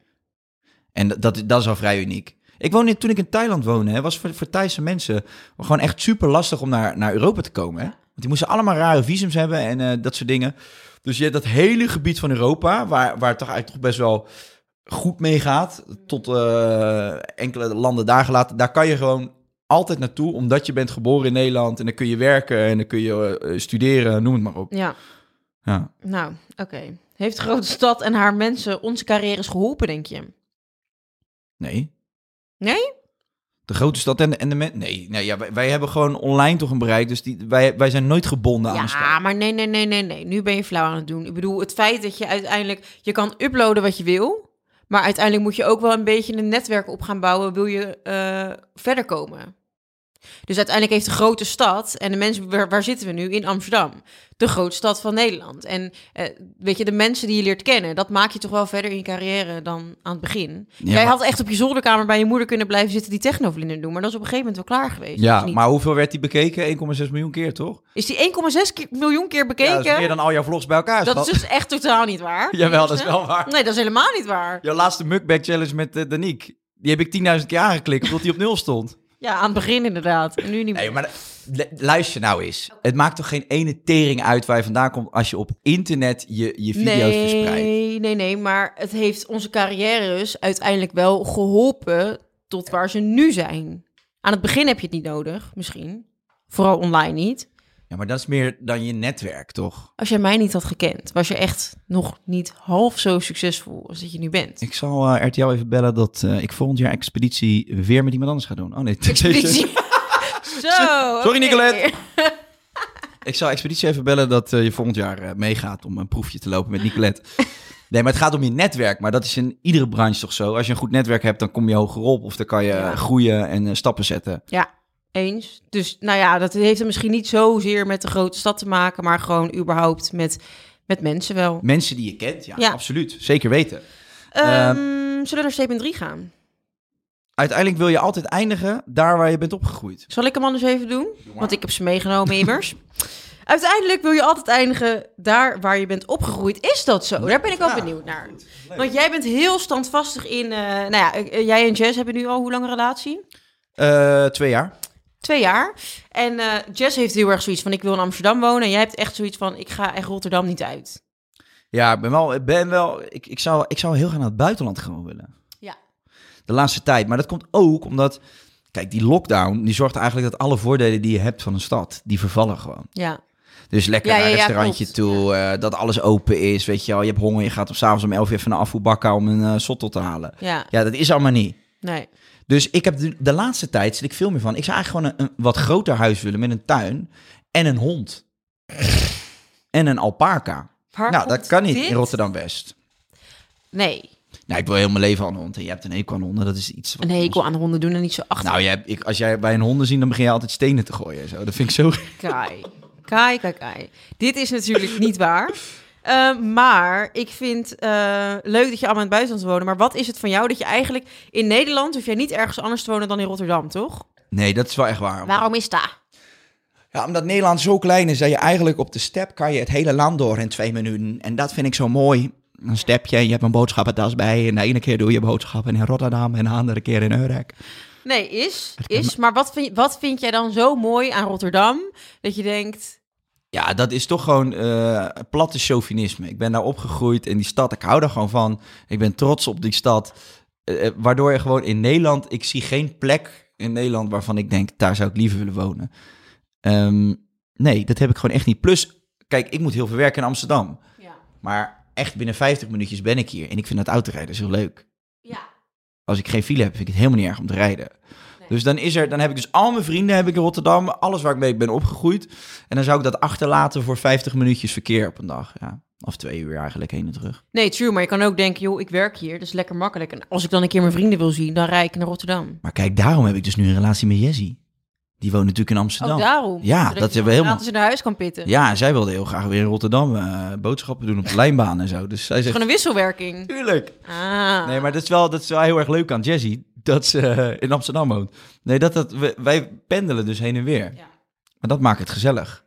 En dat- dat, dat is al vrij uniek. Ik woonde, toen ik in Thailand woonde, hè, was voor, voor Thaise mensen gewoon echt super lastig om naar, naar Europa te komen. Hè? Want die moesten allemaal rare visums hebben en eh, dat soort dingen. Dus je hebt dat hele gebied van Europa, waar, waar het toch eigenlijk toch best wel goed mee gaat. Tot eh, enkele landen daar gelaten. Daar kan je gewoon altijd naartoe, omdat je bent geboren in Nederland. En dan kun je werken en dan kun je eh, studeren, noem het maar op.
Ja.
Ja.
Nou, oké. Heeft de grote stad en haar mensen onze carrières geholpen, denk je?
Nee.
Nee?
De grote stad en de, en de men- Nee, nee ja, wij, wij hebben gewoon online toch een bereik. Dus die, wij, wij zijn nooit gebonden aan een stad.
Ja, maar nee, nee, nee, nee, nee. Nu ben je flauw aan het doen. Ik bedoel, het feit dat je uiteindelijk... Je kan uploaden wat je wil, maar uiteindelijk moet je ook wel een beetje een netwerk op gaan bouwen. Wil je eh, verder komen? Dus uiteindelijk heeft de grote stad, en de mensen, waar, waar zitten we nu? In Amsterdam. De grootstad van Nederland. En eh, weet je, de mensen die je leert kennen, dat maak je toch wel verder in je carrière dan aan het begin.
Ja,
Jij
maar-
had echt op je zolderkamer bij je moeder kunnen blijven zitten die technovlinder doen, maar dat is op een gegeven moment wel klaar geweest.
Ja,
of niet?
maar hoeveel werd die bekeken? 1,6 miljoen keer, toch?
Is die 1,6 keer- miljoen keer
Ja,
bekeken?
dat is meer dan al jouw vlogs bij elkaar.
Dat
schat.
is dus echt totaal niet
(laughs)
waar.
Jawel, dat is wel waar.
Nee, dat is helemaal niet waar.
Jouw laatste mukbang challenge met eh, Danique. Die heb ik 10.000 keer aangeklikt, omdat die op nul stond.
Ja, aan het begin inderdaad. En nu niet
(laughs)
meer.
Nee, maar lu- luister nou eens. Het maakt toch geen ene tering uit waar je vandaan komt als je op internet je, je video's verspreidt.
nee, nee, nee, maar het heeft onze carrières uiteindelijk wel geholpen tot waar ze nu zijn. Aan het begin heb je het niet nodig, misschien. Vooral online niet.
Ja, maar dat is meer dan je netwerk, toch?
Als jij mij niet had gekend, was je echt nog niet half zo succesvol als dat je nu bent.
Ik zal eh, RTL even bellen dat eh, ik volgend jaar expeditie weer met iemand anders ga doen. Oh nee, (laughs)
Expeditie. zo.
Sorry,
oké.
Nicolette. ik zal expeditie even bellen dat eh, je volgend jaar eh, meegaat om een proefje te lopen met
(laughs)
Nicolette. Nee, maar het gaat om je netwerk. Maar dat is in iedere branche toch zo. Als je een goed netwerk hebt, dan kom je hoger op. Of dan kan je
Ja.
groeien en eh, stappen zetten.
Ja, eens. Dus nou ja, dat heeft er misschien niet zozeer met de grote stad te maken, maar gewoon überhaupt met, met mensen wel.
Mensen die je kent, ja,
Ja.
absoluut. Zeker weten.
Ehm, zullen we naar statement 3 gaan?
Uiteindelijk wil je altijd eindigen daar waar je bent opgegroeid.
Zal ik hem anders even doen? Want ik heb ze meegenomen immers. Uiteindelijk wil je altijd eindigen daar waar je bent opgegroeid. Is dat zo? Daar ben ik wel benieuwd naar. Want jij bent heel standvastig in... eh, nou ja, eh, jij en Jess hebben nu al hoe lang een relatie?
Eh, twee jaar.
Twee jaar. En eh, Jess heeft heel erg zoiets van ik wil in Amsterdam wonen. En jij hebt echt zoiets van ik ga echt Rotterdam niet uit.
Ja, ik ben wel. ik Ben wel ik, ik, zou, ik zou heel graag naar het buitenland gewoon willen.
Ja.
De laatste tijd. Maar dat komt ook omdat. Kijk, die lockdown die zorgt eigenlijk dat alle voordelen die je hebt van een stad, die vervallen gewoon.
Ja.
Dus lekker
Ja,
naar
ja,
een
ja,
restaurantje
klopt.
toe, eh, dat alles open is, weet je wel. Je hebt honger, je gaat om s'avonds om 11 uur even naar afvoerbakka om een eh sotto te halen.
Ja.
Ja, dat is allemaal niet.
Nee.
Dus ik heb de, de laatste tijd zit ik veel meer van. Ik zou eigenlijk gewoon een, een wat groter huis willen met een tuin en een hond. en een alpaca.
Waar
nou, dat
komt
kan niet
dit?
in Rotterdam-West.
Nee.
Nou, ik wil heel mijn leven aan een hond. En je hebt een hekel aan honden, dat is iets... wat
Een hekel
ons-
aan de honden doen en niet zo achter.
Nou, jij, ik, als jij bij een honden ziet, dan begin je altijd stenen te gooien. en Zo. Dat vind ik zo... (laughs)
Kai. Kai, kai, kai. Dit is natuurlijk niet
(laughs)
waar. Eh, maar ik vind eh, leuk dat je allemaal in het buitenland woont. Maar wat is het van jou dat je eigenlijk in Nederland hoef jij niet ergens anders te wonen dan in Rotterdam, toch?
Nee, dat is wel echt waar.
Waarom is dat?
Ja, omdat Nederland zo klein is dat je eigenlijk op de step kan je het hele land door in twee minuten. En dat vind ik zo mooi. Een stepje, je hebt een boodschappentas bij. En de ene keer doe je boodschappen in Rotterdam en de andere keer in Urk.
Nee, is. Is. Maar wat vind, wat vind jij dan zo mooi aan Rotterdam dat je denkt.
Ja, dat is toch gewoon eh, platte chauvinisme. Ik ben daar opgegroeid in die stad. Ik hou daar gewoon van. Ik ben trots op die stad. Eh, eh, waardoor je gewoon in Nederland... Ik zie geen plek in Nederland waarvan ik denk... daar zou ik liever willen wonen. Ehm, nee, dat heb ik gewoon echt niet. Plus, kijk, ik moet heel veel werken in Amsterdam. Maar echt binnen 50 minuutjes ben ik hier. En ik vind dat autorijden zo leuk.
Ja.
Als ik geen file heb, vind ik het helemaal niet erg om te rijden. Dus dan, is er, dan heb ik dus al mijn vrienden heb ik in Rotterdam. Alles waar ik mee ben opgegroeid. En dan zou ik dat achterlaten voor 50 minuutjes verkeer op een dag. Ja. Of twee uur eigenlijk heen en terug.
Nee, true. Maar je kan ook denken, joh, ik werk hier. Dat is lekker makkelijk. En als ik dan een keer mijn vrienden wil zien, dan rijd ik naar Rotterdam.
Maar kijk, daarom heb ik dus nu een relatie met Jessie. Die woont natuurlijk in Amsterdam.
Ook daarom.
Ja,
Zodat
dat
je
hebben we helemaal.
gratis in naar huis kan pitten. Het
Ja, en zij wilde heel graag weer in Rotterdam eh, boodschappen doen op de lijnbaan en zo. Dus zij
is
zegt...
gewoon een wisselwerking.
Tuurlijk.
Ah.
Nee, maar dat is, wel, dat is wel heel erg leuk aan Jessie. Dat ze eh, in Amsterdam woont. Nee, dat, dat, we- wij pendelen dus heen en weer.
Ja.
Maar dat maakt het gezellig.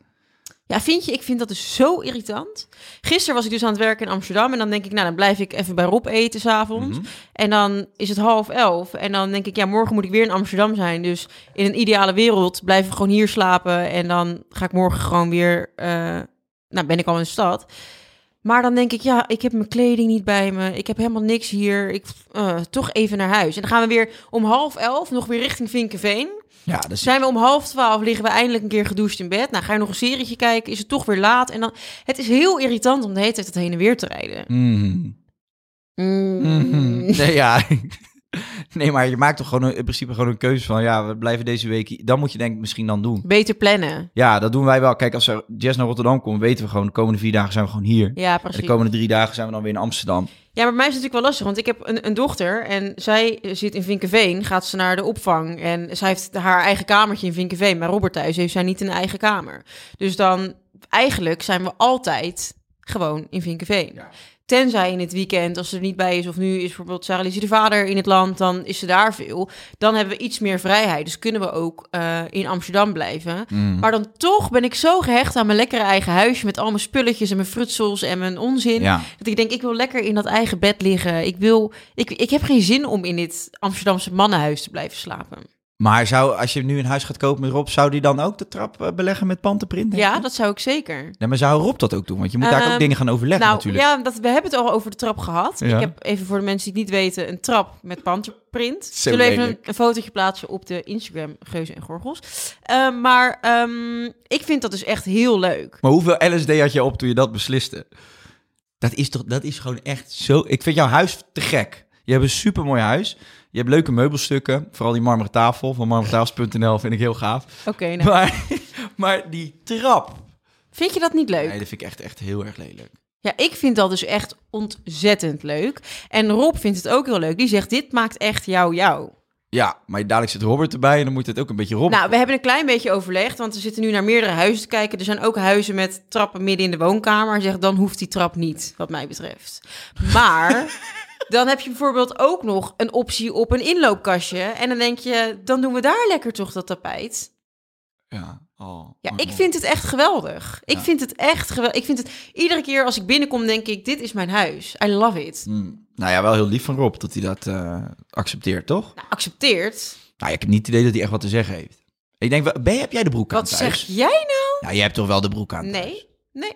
Ja, vind je? Ik vind dat dus zo irritant. Gisteren was ik dus aan het werken in Amsterdam. En dan denk ik, nou, dan blijf ik even bij Rob eten s'avonds. En dan is het half elf. En dan denk ik, ja, morgen moet ik weer in Amsterdam zijn. Dus in een ideale wereld blijf ik gewoon hier slapen. En dan ga ik morgen gewoon weer... eh, nou, ben ik al in de stad. Maar dan denk ik, ja, ik heb mijn kleding niet bij me. Ik heb helemaal niks hier. Ik, eh, toch even naar huis. En dan gaan we weer om half elf nog weer richting Vinkenveen.
Ja, dus dat is...
Zijn we om half twaalf, liggen we eindelijk een keer gedoucht in bed. Nou, ga je nog een serietje kijken, is het toch weer laat. En dan, het is heel irritant om de hele tijd
Mm.
dat heen en weer te rijden.
Mhm. (laughs)
Mm.
Mhm. Nee, ja. Nee, maar je maakt toch gewoon een- in principe gewoon een keuze van... ja, we blijven deze week... hier. Dan moet je denk ik misschien dan doen.
Beter plannen.
Ja, dat doen wij wel. Kijk, als er jazz naar Rotterdam komt... weten we gewoon, de komende vier dagen zijn we gewoon hier.
Ja,
En de
precies.
komende drie dagen zijn we dan weer in Amsterdam.
Ja, maar bij mij is het natuurlijk wel lastig, want ik heb een, een dochter en zij zit in Vinkenveen, gaat ze naar de opvang en zij heeft haar eigen kamertje in Vinkenveen, maar Robert thuis heeft zij niet een eigen kamer. Dus dan eigenlijk zijn we altijd gewoon in Vinkenveen. Tenzij in het weekend, als ze er niet bij is, of nu is bijvoorbeeld Sarah Lizzie de vader in het land, dan is ze daar veel. Dan hebben we iets meer vrijheid, dus kunnen we ook eh, in Amsterdam blijven. Maar dan toch ben ik zo gehecht aan mijn lekkere eigen huisje met al mijn spulletjes en mijn frutsels en mijn onzin.
Ja.
Dat ik denk, ik wil lekker in dat eigen bed liggen. Ik, wil, ik, ik heb geen zin om in dit Amsterdamse mannenhuis te blijven slapen.
Maar zou, als je nu een huis gaat kopen met Rob... zou die dan ook de trap eh, beleggen met pantenprint? denk
Ja,
je?
dat zou ik zeker.
Nee, maar zou Rob dat ook doen? Want je moet daar ook
Ehm,
dingen gaan overleggen
nou
natuurlijk.
ja, dat, we hebben het al over de trap gehad.
Ja.
Ik heb even voor de mensen die het niet weten, een trap met panterprint.
Zo
Zullen we even een,
lelijk.
een fotootje plaatsen op de Instagram Geuzen en Gorgels. Ehm, maar ehm, ik vind dat dus echt heel leuk.
Maar hoeveel LSD had je op toen je dat besliste? Dat is toch, dat is gewoon echt zo. Ik vind jouw huis te gek. Je hebt een supermooi huis. Je hebt leuke meubelstukken. Vooral die marmeren tafel van marmerentafels.nl vind ik heel gaaf.
Oké, nou.
Maar, (laughs) maar die trap.
Vind je dat niet leuk?
Nee, dat vind ik echt, echt heel erg lelijk.
Ja, ik vind dat dus echt ontzettend leuk. En Rob vindt het ook heel leuk. Die zegt, dit maakt echt jou jou.
Ja, maar dadelijk zit Robert erbij en dan moet het ook een beetje Robert.
Nou, we hebben een klein beetje overlegd, want we zitten nu naar meerdere huizen te kijken. Er zijn ook huizen met trappen midden in de woonkamer. Hij Zegt dan hoeft die trap niet, wat mij betreft. Maar
(laughs)
dan heb je bijvoorbeeld ook nog een optie op een inloopkastje. En dan denk je, dan doen we daar lekker toch dat tapijt.
ja, oh,
Nou. Ja,
oh,
ik
oh.
vind het echt geweldig. Ik
Ja.
vind het echt geweldig. Ik vind het iedere keer als ik binnenkom, denk ik, dit is mijn huis. I love it.
Hmm. Nou ja, wel heel lief van Rob dat hij dat eh, accepteert, toch?
Nou, accepteert.
Nou, ik heb niet het idee dat hij echt wat te zeggen heeft. Ik denk, wel- ben, heb jij de broek aan
Wat
thuis?
zeg jij nou?
Nou, jij hebt toch wel de broek aan thuis?
Nee, nee.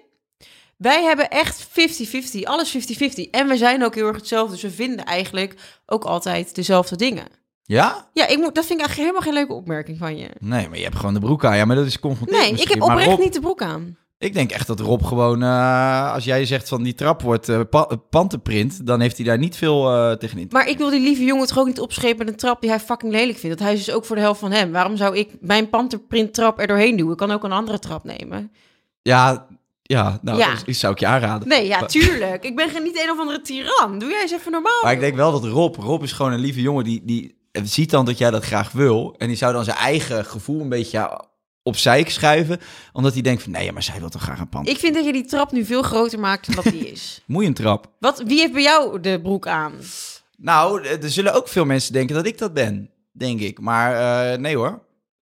Wij hebben echt 50-50, alles 50-50. En we zijn ook heel erg hetzelfde, dus we vinden eigenlijk ook altijd dezelfde dingen.
Ja?
Ja, ik moet, dat vind ik eigenlijk helemaal geen leuke opmerking van je.
Nee, maar je hebt gewoon de broek aan. Ja, maar dat is confronterend
Nee, ik
misschien.
heb
Maar
oprecht
Rob-
niet de broek aan.
Ik denk echt dat Rob gewoon... eh, als jij zegt van die trap wordt eh, pa- eh, pantenprint... dan heeft hij daar niet veel eh tegenin.
Maar ik wil die lieve jongen toch ook niet opschepen met een trap die hij fucking lelijk vindt. Dat huis is dus ook voor de helft van hem. Waarom zou ik mijn panterprint trap er doorheen doen? Ik kan ook een andere trap nemen.
Ja, ja nou,
Ja.
dat is- zou ik je aanraden.
Nee, ja,
Maar-
tuurlijk. Ik ben geen- niet een of andere tiran. Doe jij eens even normaal.
Maar ik denk wel dat Rob... Rob is gewoon een lieve jongen die, die ziet dan dat jij dat graag wil. En die zou dan zijn eigen gevoel een beetje ja, opzij schuiven. Omdat hij denkt van... Nee, ja, maar zij wil toch graag een pand.
Ik vind dat je die trap nu veel groter maakt dan wat die is.
Moet je een trap?
Wat, wie heeft bij jou de broek aan?
Nou, er zullen ook veel mensen denken dat ik dat ben. Denk ik. Maar eh, nee hoor.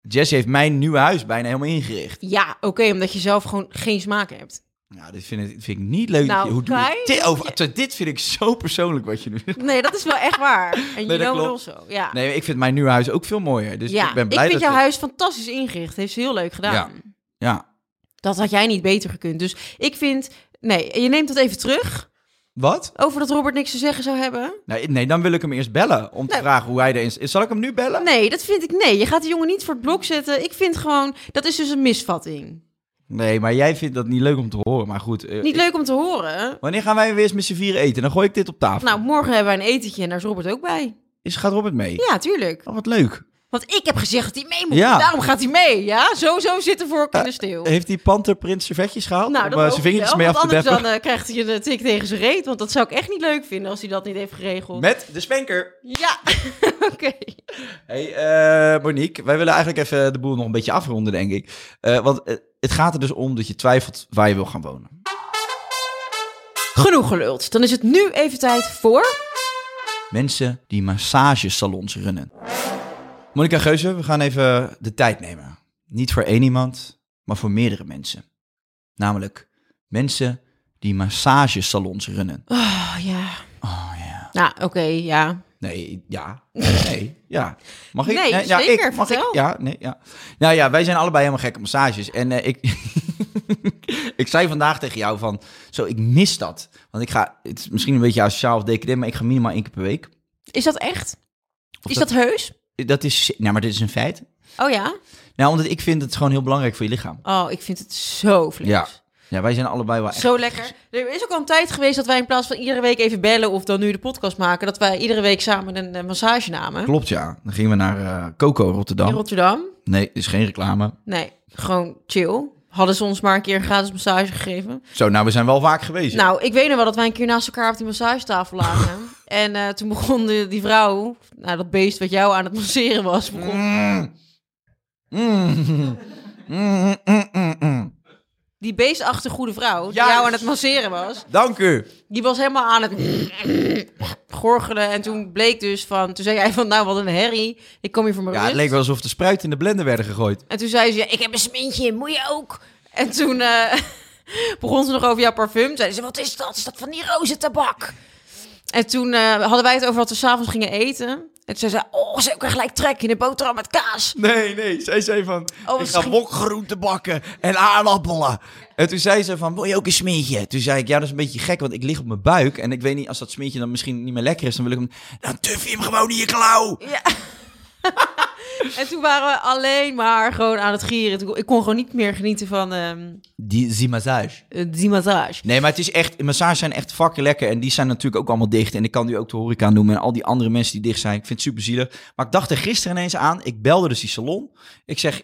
Jess heeft mijn nieuwe huis bijna helemaal ingericht.
Ja, oké, omdat je zelf gewoon geen smaak hebt.
Nou, dit vind ik, dit vind ik niet leuk.
Nou,
Hoe doe je
Kai,
dit over? Dit vind ik zo persoonlijk wat je nu doet.
Nee, dat is wel echt waar.
(laughs)
En
dat
you know it
klopt.
also. Ja,
Nee, ik vind mijn nieuwe huis ook veel mooier. Dus
Nou. ja.
ik ben blij
vind
dat...
jouw
het-
huis fantastisch ingericht. Heeft ze heel leuk gedaan.
Ja.
Dat had jij niet beter gekund. Dus ik vind... Nee, je neemt dat even terug.
Wat?
Over dat Robert niks te zeggen zou hebben.
Nee, nee, dan wil ik hem eerst bellen. Om te
Nee.
vragen hoe hij erin is. Zal ik hem nu bellen?
Nee, dat vind ik... Nee, je gaat de jongen niet voor het blok zetten. Ik vind gewoon... Dat is dus een misvatting.
Nee, maar jij vindt dat niet leuk om te horen. Maar goed. eh,
Niet
ik-
leuk om te horen.
Wanneer gaan wij weer eens met z'n vieren eten? Dan gooi ik dit op tafel.
Nou, morgen hebben wij een etentje en daar is Robert ook bij.
Is, gaat Robert mee?
Ja, tuurlijk.
Oh, wat leuk.
Want ik heb gezegd dat hij mee moet.
Ja.
Daarom gaat hij mee, ja? Sowieso zitten voor in de stil.
Heeft die panterprint servetjes gehaald?
Nou,
om
dat
eh,
hoop
zijn
ik
vingertjes
wel,
mee af te
want
deppen?
anders dan eh, krijgt hij een tik tegen zijn reet. Want dat zou ik echt niet leuk vinden als hij dat niet heeft geregeld.
Met de spanker.
Ja, (laughs) oké.
Hey, eh, Monique, wij willen eigenlijk even de boel nog een beetje afronden, denk ik. Eh, want eh, het gaat er dus om dat je twijfelt waar je wil gaan wonen.
Genoeg geluld. Dan is het nu even tijd voor...
Mensen die massagesalons runnen. Monica Geuze, we gaan even de tijd nemen. Niet voor één iemand, maar voor meerdere mensen. Namelijk mensen die massagesalons runnen.
Oh, ja.
Oh ja.
Nou, oké, ja.
Nee,
(laughs)
ja. Nee, ja. Mag ik?
Nee,
ja,
zeker,
ik, mag ik?
vertel.
Ja, nee, ja. Nou ja, wij zijn allebei helemaal gek op massages. En eh, ik, (laughs) ik zei vandaag tegen jou van, zo, ik mis dat. Want ik ga, het is misschien een beetje asociaal of decadent, maar ik ga minimaal één keer per week.
Is dat echt?
Of
is dat... heus?
Dat is, nou, maar dit is een feit.
Oh ja?
Nou, omdat ik vind het gewoon heel belangrijk voor je lichaam.
Oh, ik vind het zo vlees.
Ja. Ja, wij zijn allebei wel echt...
Zo lekker. Er is ook al een tijd geweest dat wij in plaats van iedere week even bellen of dan nu de podcast maken, dat wij iedere week samen een eh, massage namen.
Klopt, ja. Dan gingen we naar eh, Coco,
In
Rotterdam.
Rotterdam.
Nee, is geen reclame.
Nee, gewoon chill. Hadden ze ons maar een keer een gratis massage gegeven.
Zo, nou, we zijn wel vaak geweest.
Nou, ik weet nog wel dat wij een keer naast elkaar op die massagetafel lagen.
(laughs)
en eh, toen begon de- die vrouw, nou dat beest wat jou aan het masseren was, begon...
Mm. Mm, mm, mm, mm.
die beestachtige goede vrouw die
Juist.
jou aan het masseren was,
Dank u.
die was helemaal aan het gorgelen. En toen bleek dus van, toen zei jij van, nou wat een herrie, ik kom hier voor mijn
Ja, het
rust.
leek wel alsof de spruit in de blender werden gegooid.
En toen zei ze, ja, ik heb een smintje, moet je ook? En toen eh, (laughs) begon ze nog over jouw parfum. Zeiden ze, wat is dat? Is dat van die rozentabak? En toen eh, hadden wij het over dat we s'avonds gingen eten. En toen zei ze, oh, ze hebben gelijk trek in de boterham met kaas.
Nee, nee. Zij zei van,
wat
ik ga
schiet-
wokgroenten bakken en aardappelen. En toen zei ze van, wil je ook een smeertje? Toen zei ik, ja, dat is een beetje gek, want ik lig op mijn buik. En ik weet niet, als dat smeertje dan misschien niet meer lekker is, dan wil ik hem... Dan tuf je hem gewoon in je klauw.
En toen waren we alleen maar gewoon aan het gieren. Toen- Ik kon gewoon niet meer genieten van ehm, eh,
Die, die massage.
die massage.
Nee, maar het is echt, massages zijn echt fucking lekker. En die zijn natuurlijk ook allemaal dicht. En ik kan nu ook de horeca noemen en al die andere mensen die dicht zijn. Ik vind het super zielig. Maar ik dacht er gisteren ineens aan. Ik belde dus die salon. Ik zeg,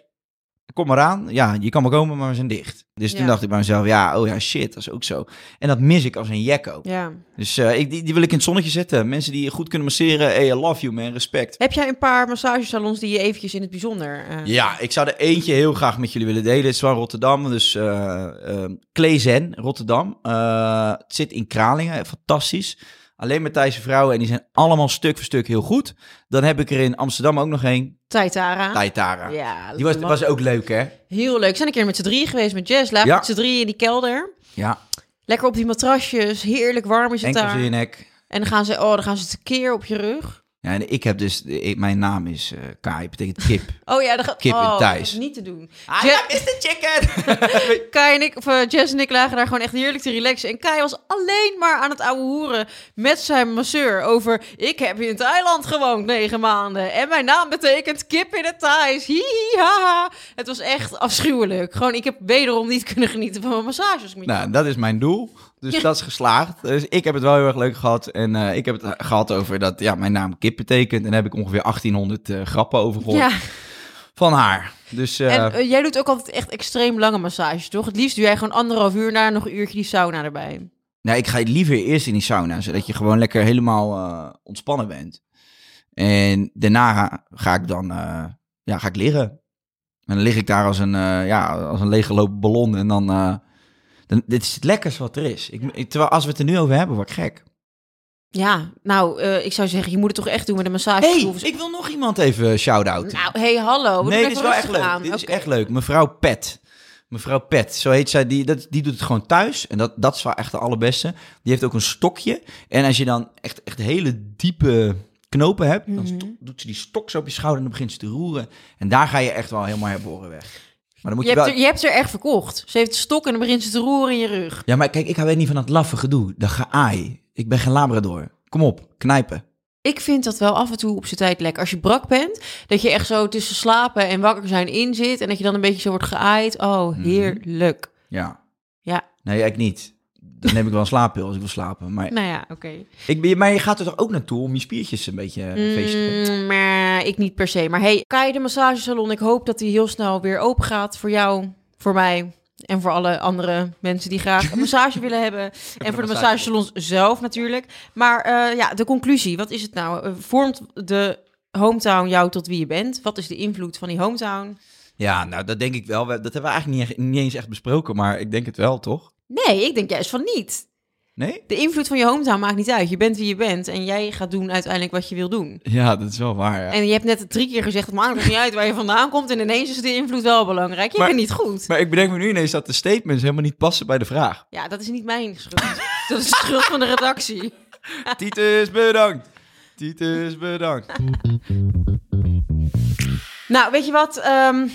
kom maar aan. Ja, je kan maar komen, maar we zijn dicht. Dus toen
Ja.
dacht ik bij mezelf, ja, oh ja, shit, dat is ook zo. En dat mis ik als een jekko.
Ja.
Dus eh, ik, die, die wil ik in het zonnetje zetten. Mensen die goed kunnen masseren, hey, I love you man, respect.
Heb jij een paar massagesalons die je eventjes in het bijzonder... eh,
Ja, ik zou er eentje heel graag met jullie willen delen. Het is van Rotterdam, dus eh eh, Kleezen, Rotterdam. Eh, het zit in Kralingen, eh, fantastisch. Alleen met Thaise vrouwen en die zijn allemaal stuk voor stuk heel goed. Dan heb ik er in Amsterdam ook nog één,
Taitara.
Taitara.
Ja,
Die was, was ook leuk, hè?
heel leuk. We zijn een keer met z'n drieën geweest met Jess. Lagen
Ja.
met z'n drieën in die kelder.
Ja,
Lekker op die matrasjes, heerlijk warm is het
enkel
daar.
in nek.
En dan gaan ze, oh, dan gaan ze tekeer op je rug.
Ja, en ik heb dus, ik- mijn naam is eh Kai, betekent kip.
Oh ja, dan gaat
Kip in
oh,
Thijs.
dat is niet te doen.
ja,
Je-
Mr. Chicken!
(laughs) Kai en ik, of eh, Jess en ik lagen daar gewoon echt heerlijk te relaxen. En Kai was alleen maar aan het ouwe hoeren met zijn masseur over... Ik heb in Thailand gewoond negen maanden en mijn naam betekent kip in het Thais. Hihi, haha. Het was echt afschuwelijk. Gewoon, ik heb wederom niet kunnen genieten van mijn massages.
Nou, dat is mijn doel. Dus dat is geslaagd. Dus ik heb het wel heel erg leuk gehad. En eh, ik heb het gehad over dat ja, mijn naam kip betekent. En daar heb ik ongeveer 1800 eh, grappen over gehoord
ja,
van haar. Dus eh,
en eh, jij doet ook altijd echt extreem lange massages, toch? Het liefst doe jij gewoon anderhalf uur na nog een uurtje die sauna erbij.
nou, ik ga liever eerst in die sauna, zodat je gewoon lekker helemaal eh, ontspannen bent. En daarna ga, ga ik dan eh, ja, ga ik liggen. En dan lig ik daar als een, eh, ja, als een leeggelopen ballon. En dan, eh, dan, dit is het lekkerste wat er is. Ik, ik- terwijl als we het er nu over hebben, word ik gek.
Ja, nou, eh, ik zou zeggen, je moet het toch echt doen met een massage.
hey, ik wil nog iemand even shout-out.
Nou, hey, hallo. we doen
Nee, dit
even
is wel echt
rustig
leuk.
aan.
Dit is
Oké.
echt leuk. Mevrouw Pet. Mevrouw Pet, zo heet zij. Die, dat, die doet het gewoon thuis. En dat, dat is wel echt de allerbeste. Die heeft ook een stokje. En als je dan echt, echt hele diepe knopen hebt,
Mhm.
dan sto- doet ze die stok zo op je schouder en dan begint ze te roeren. En daar ga je echt wel helemaal herboren weg. Maar dan moet
Je
je,
hebt,
wel...
er, je hebt er echt verkocht. Ze heeft de stok en dan begint ze te roeren in je rug.
Ja, maar kijk, ik hou weer niet van dat laffe gedoe. Dat geaai. Ik ben geen labrador. Kom op, knijpen.
Ik vind dat wel af en toe op zijn tijd lekker. Als je brak bent, dat je echt zo tussen slapen en wakker zijn in zit. En dat je dan een beetje zo wordt geaaid. Oh, heerlijk.
Ja.
Ja,
Nee, ik niet. Dan neem ik wel een slaappil als ik wil slapen. Maar,
nou ja, oké.
ik, ben- maar je gaat er toch ook naartoe om je spiertjes een beetje eh, feest te geven?
Mm, maar ik niet per se. Maar hey, Kai de massagesalon. Ik hoop dat die heel snel weer open gaat voor jou, voor mij en voor alle andere mensen die
(laughs)
graag een massage willen hebben. En voor de massagesalons zelf natuurlijk. Maar eh, ja, de conclusie, wat is het nou? Eh, Vormt de hometown jou tot wie je bent? Wat is de invloed van die hometown?
Ja, nou, dat denk ik wel. We- Dat hebben we eigenlijk niet, echt- niet eens echt besproken, maar ik denk het wel, toch?
Nee, ik denk juist van niet.
Nee?
De invloed van je hometown maakt niet uit. Je bent wie je bent en jij gaat doen uiteindelijk wat je wil doen.
Ja, dat is wel waar, ja.
En je hebt net drie keer gezegd, het maakt nog niet uit waar je vandaan komt. En ineens is de invloed wel belangrijk. Je
Maar-
bent niet goed.
Maar ik bedenk me nu ineens dat de statements helemaal niet passen bij de
(laughs)
vraag.
Ja, dat is niet mijn schuld. (laughs) dat is de schuld van de redactie.
Titus, bedankt. Titus, bedankt.
Nou, weet je wat? Ehm,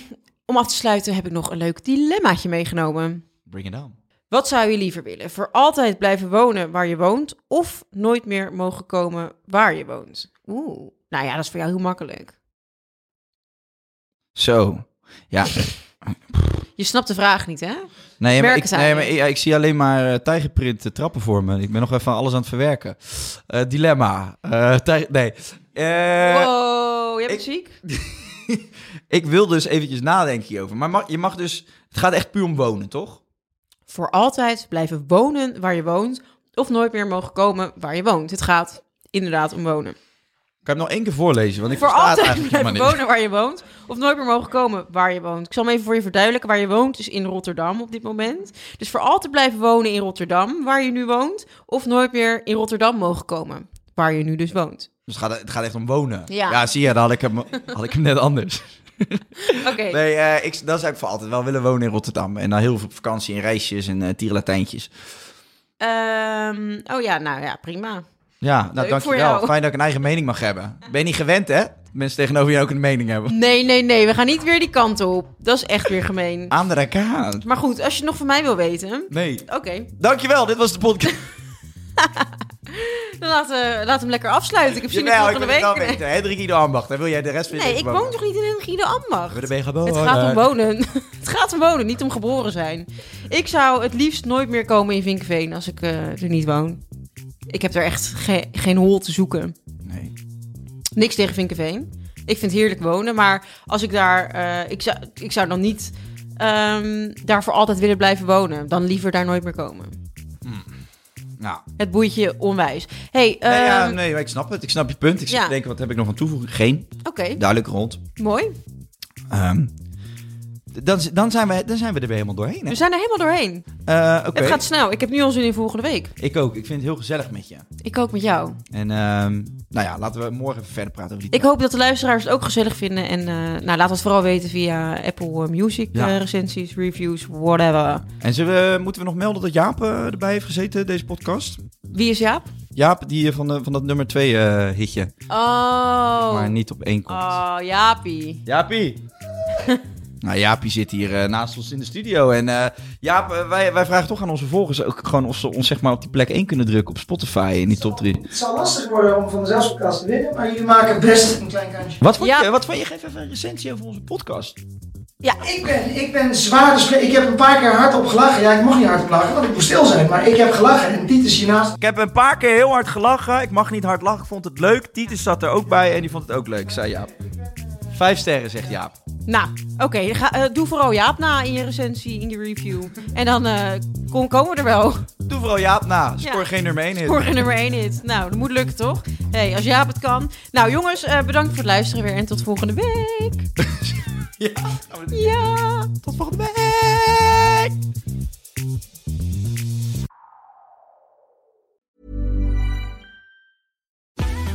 om af te sluiten heb ik nog een leuk dilemmaatje meegenomen.
Bring it on.
Wat zou je liever willen? Voor altijd blijven wonen waar je woont of nooit meer mogen komen waar je woont? Oeh. Nou ja, dat is voor jou heel makkelijk.
Zo. Ja,
Je Je snapt de vraag niet, hè?
Nee, maar
Merken
ik,
ze
nee, maar
eigenlijk?
ik, ja, ik zie alleen maar eh, tijgerprint eh, trappen voor me. Ik ben nog even aan alles aan het verwerken. Eh, dilemma. Eh, tij- nee. Eh,
wow, jij bent
ik-
ziek?
ik wil dus eventjes nadenken hierover. Maar mag, je mag dus... Het gaat echt puur om wonen, toch?
Voor altijd blijven wonen waar je woont. Of nooit meer mogen komen waar je woont. Het gaat inderdaad om wonen.
Kan je hem nog één keer voorlezen? Want ik
voor
versta het
altijd
eigenlijk
(laughs) blijven
helemaal niet.
wonen waar je woont. Of nooit meer mogen komen waar je woont. Ik zal hem even voor je verduidelijken. Waar je woont is in Rotterdam op dit moment. Dus voor altijd blijven wonen in Rotterdam, waar je nu woont. Of nooit meer in Rotterdam mogen komen, waar je nu dus woont.
Dus het, gaat, het gaat echt om wonen.
Ja.
zie je, dan had ik
(laughs)
hem, had ik hem net anders.
Oké,
Nee, eh, ik, dat zou ik voor altijd wel willen wonen in Rotterdam. En dan heel veel op vakantie en reisjes en eh tierenlatijntjes.
ehm, oh ja, nou ja, prima.
Ja, nou
Leuk voor
dankjewel.
jou.
Fijn dat ik een eigen mening mag hebben. Ben je niet gewend, hè? Mensen tegenover je ook een mening hebben.
Nee, nee, nee, we gaan niet weer die kant op. Dat is echt weer gemeen.
Aan de kant.
Maar goed, als je het nog van mij wil weten...
Nee.
Oké,
Dankjewel, dit was de
(laughs)
podcast.
dan laat, eh, laat hem lekker afsluiten. Ik heb zin in
Jawel, ik
volgende
wil het wel
week.
weten. Hendrik Ido Ambacht, daar wil jij de rest van je
Nee, ik
leven
woon
wonen.
toch niet in Hendrikide Ambacht?
Daar ben je gewoon
Het gaat om
wonen.
wonen. (laughs) het gaat om wonen, niet om geboren zijn. Ik zou het liefst nooit meer komen in Vinkveen als ik eh, er niet woon. Ik heb er echt ge- geen hol te zoeken.
Nee.
Niks tegen Vinkveen. Ik vind heerlijk wonen, maar als ik daar... eh, ik, zou, ik zou dan niet ehm, daar voor altijd willen blijven wonen. Dan liever daar nooit meer komen.
Nou,
Het boeit je onwijs. hey,
nee, ja,
ehm,
nee, maar ik snap het. Ik snap je punt. Ik zit
ja.
te denken, wat heb ik nog aan toevoegen? Geen.
oké,
Duidelijk rond.
mooi.
Ehm, dan, dan, zijn we, dan zijn we er weer helemaal doorheen. Hè?
We zijn er helemaal doorheen.
Eh, Oké.
Het gaat snel. Ik heb nu al zin in volgende week.
Ik ook. Ik vind het heel gezellig met je.
Ik ook met jou.
En ehm, nou ja, laten we morgen even verder praten over die
Ik hoop dat de luisteraars het ook gezellig vinden. En eh, nou, laat het vooral weten via Apple eh, Music
Ja.
eh, recensies, reviews, whatever.
En zullen we, moeten we nog melden dat Jaap eh, erbij heeft gezeten, deze podcast?
Wie is Jaap?
Jaap, die eh, van, de, van dat nummer 2 eh hitje,
Oh,
maar niet op één komt.
oh Jaapie. (laughs)
Jaapie! nou, Jaapie zit hier eh, naast ons in de studio. En eh, Jaap, eh, wij, wij vragen toch aan onze volgers ook gewoon of ze ons zeg maar op die plek 1 kunnen drukken op Spotify in die top 3.
Het zal lastig worden om van de zelfspodcast te winnen, maar jullie maken best een klein kansje.
Wat vond,
Ja.
je, wat vond je? Geef even een recensie over onze podcast.
Ik ben, ik ben zwaar gesprek. Ik heb een paar keer hardop gelachen. Ja, ik mag niet hardop lachen, want ik moest stil zijn. Maar ik heb gelachen en Tiet is hiernaast.
Ik heb een paar keer heel hard gelachen. Ik mag niet hard lachen, ik vond het leuk. Titus zat er ook bij en die vond het ook leuk, zei Jaap. Vijf sterren, zegt Jaap.
Nou, oké. ga- eh, doe vooral Jaap na in je recensie, in je review. En dan eh, kom, komen we er
(laughs)
wel.
Doe vooral Jaap na. Scoor
Ja.
geen nummer 1 in.
Morgen nummer 1 hit. Nou, dat moet lukken, toch? hey, als Jaap het kan. Nou, jongens, eh, bedankt voor het luisteren weer. En tot volgende week.
(laughs) Ja, nou,
Ja.
tot volgende week!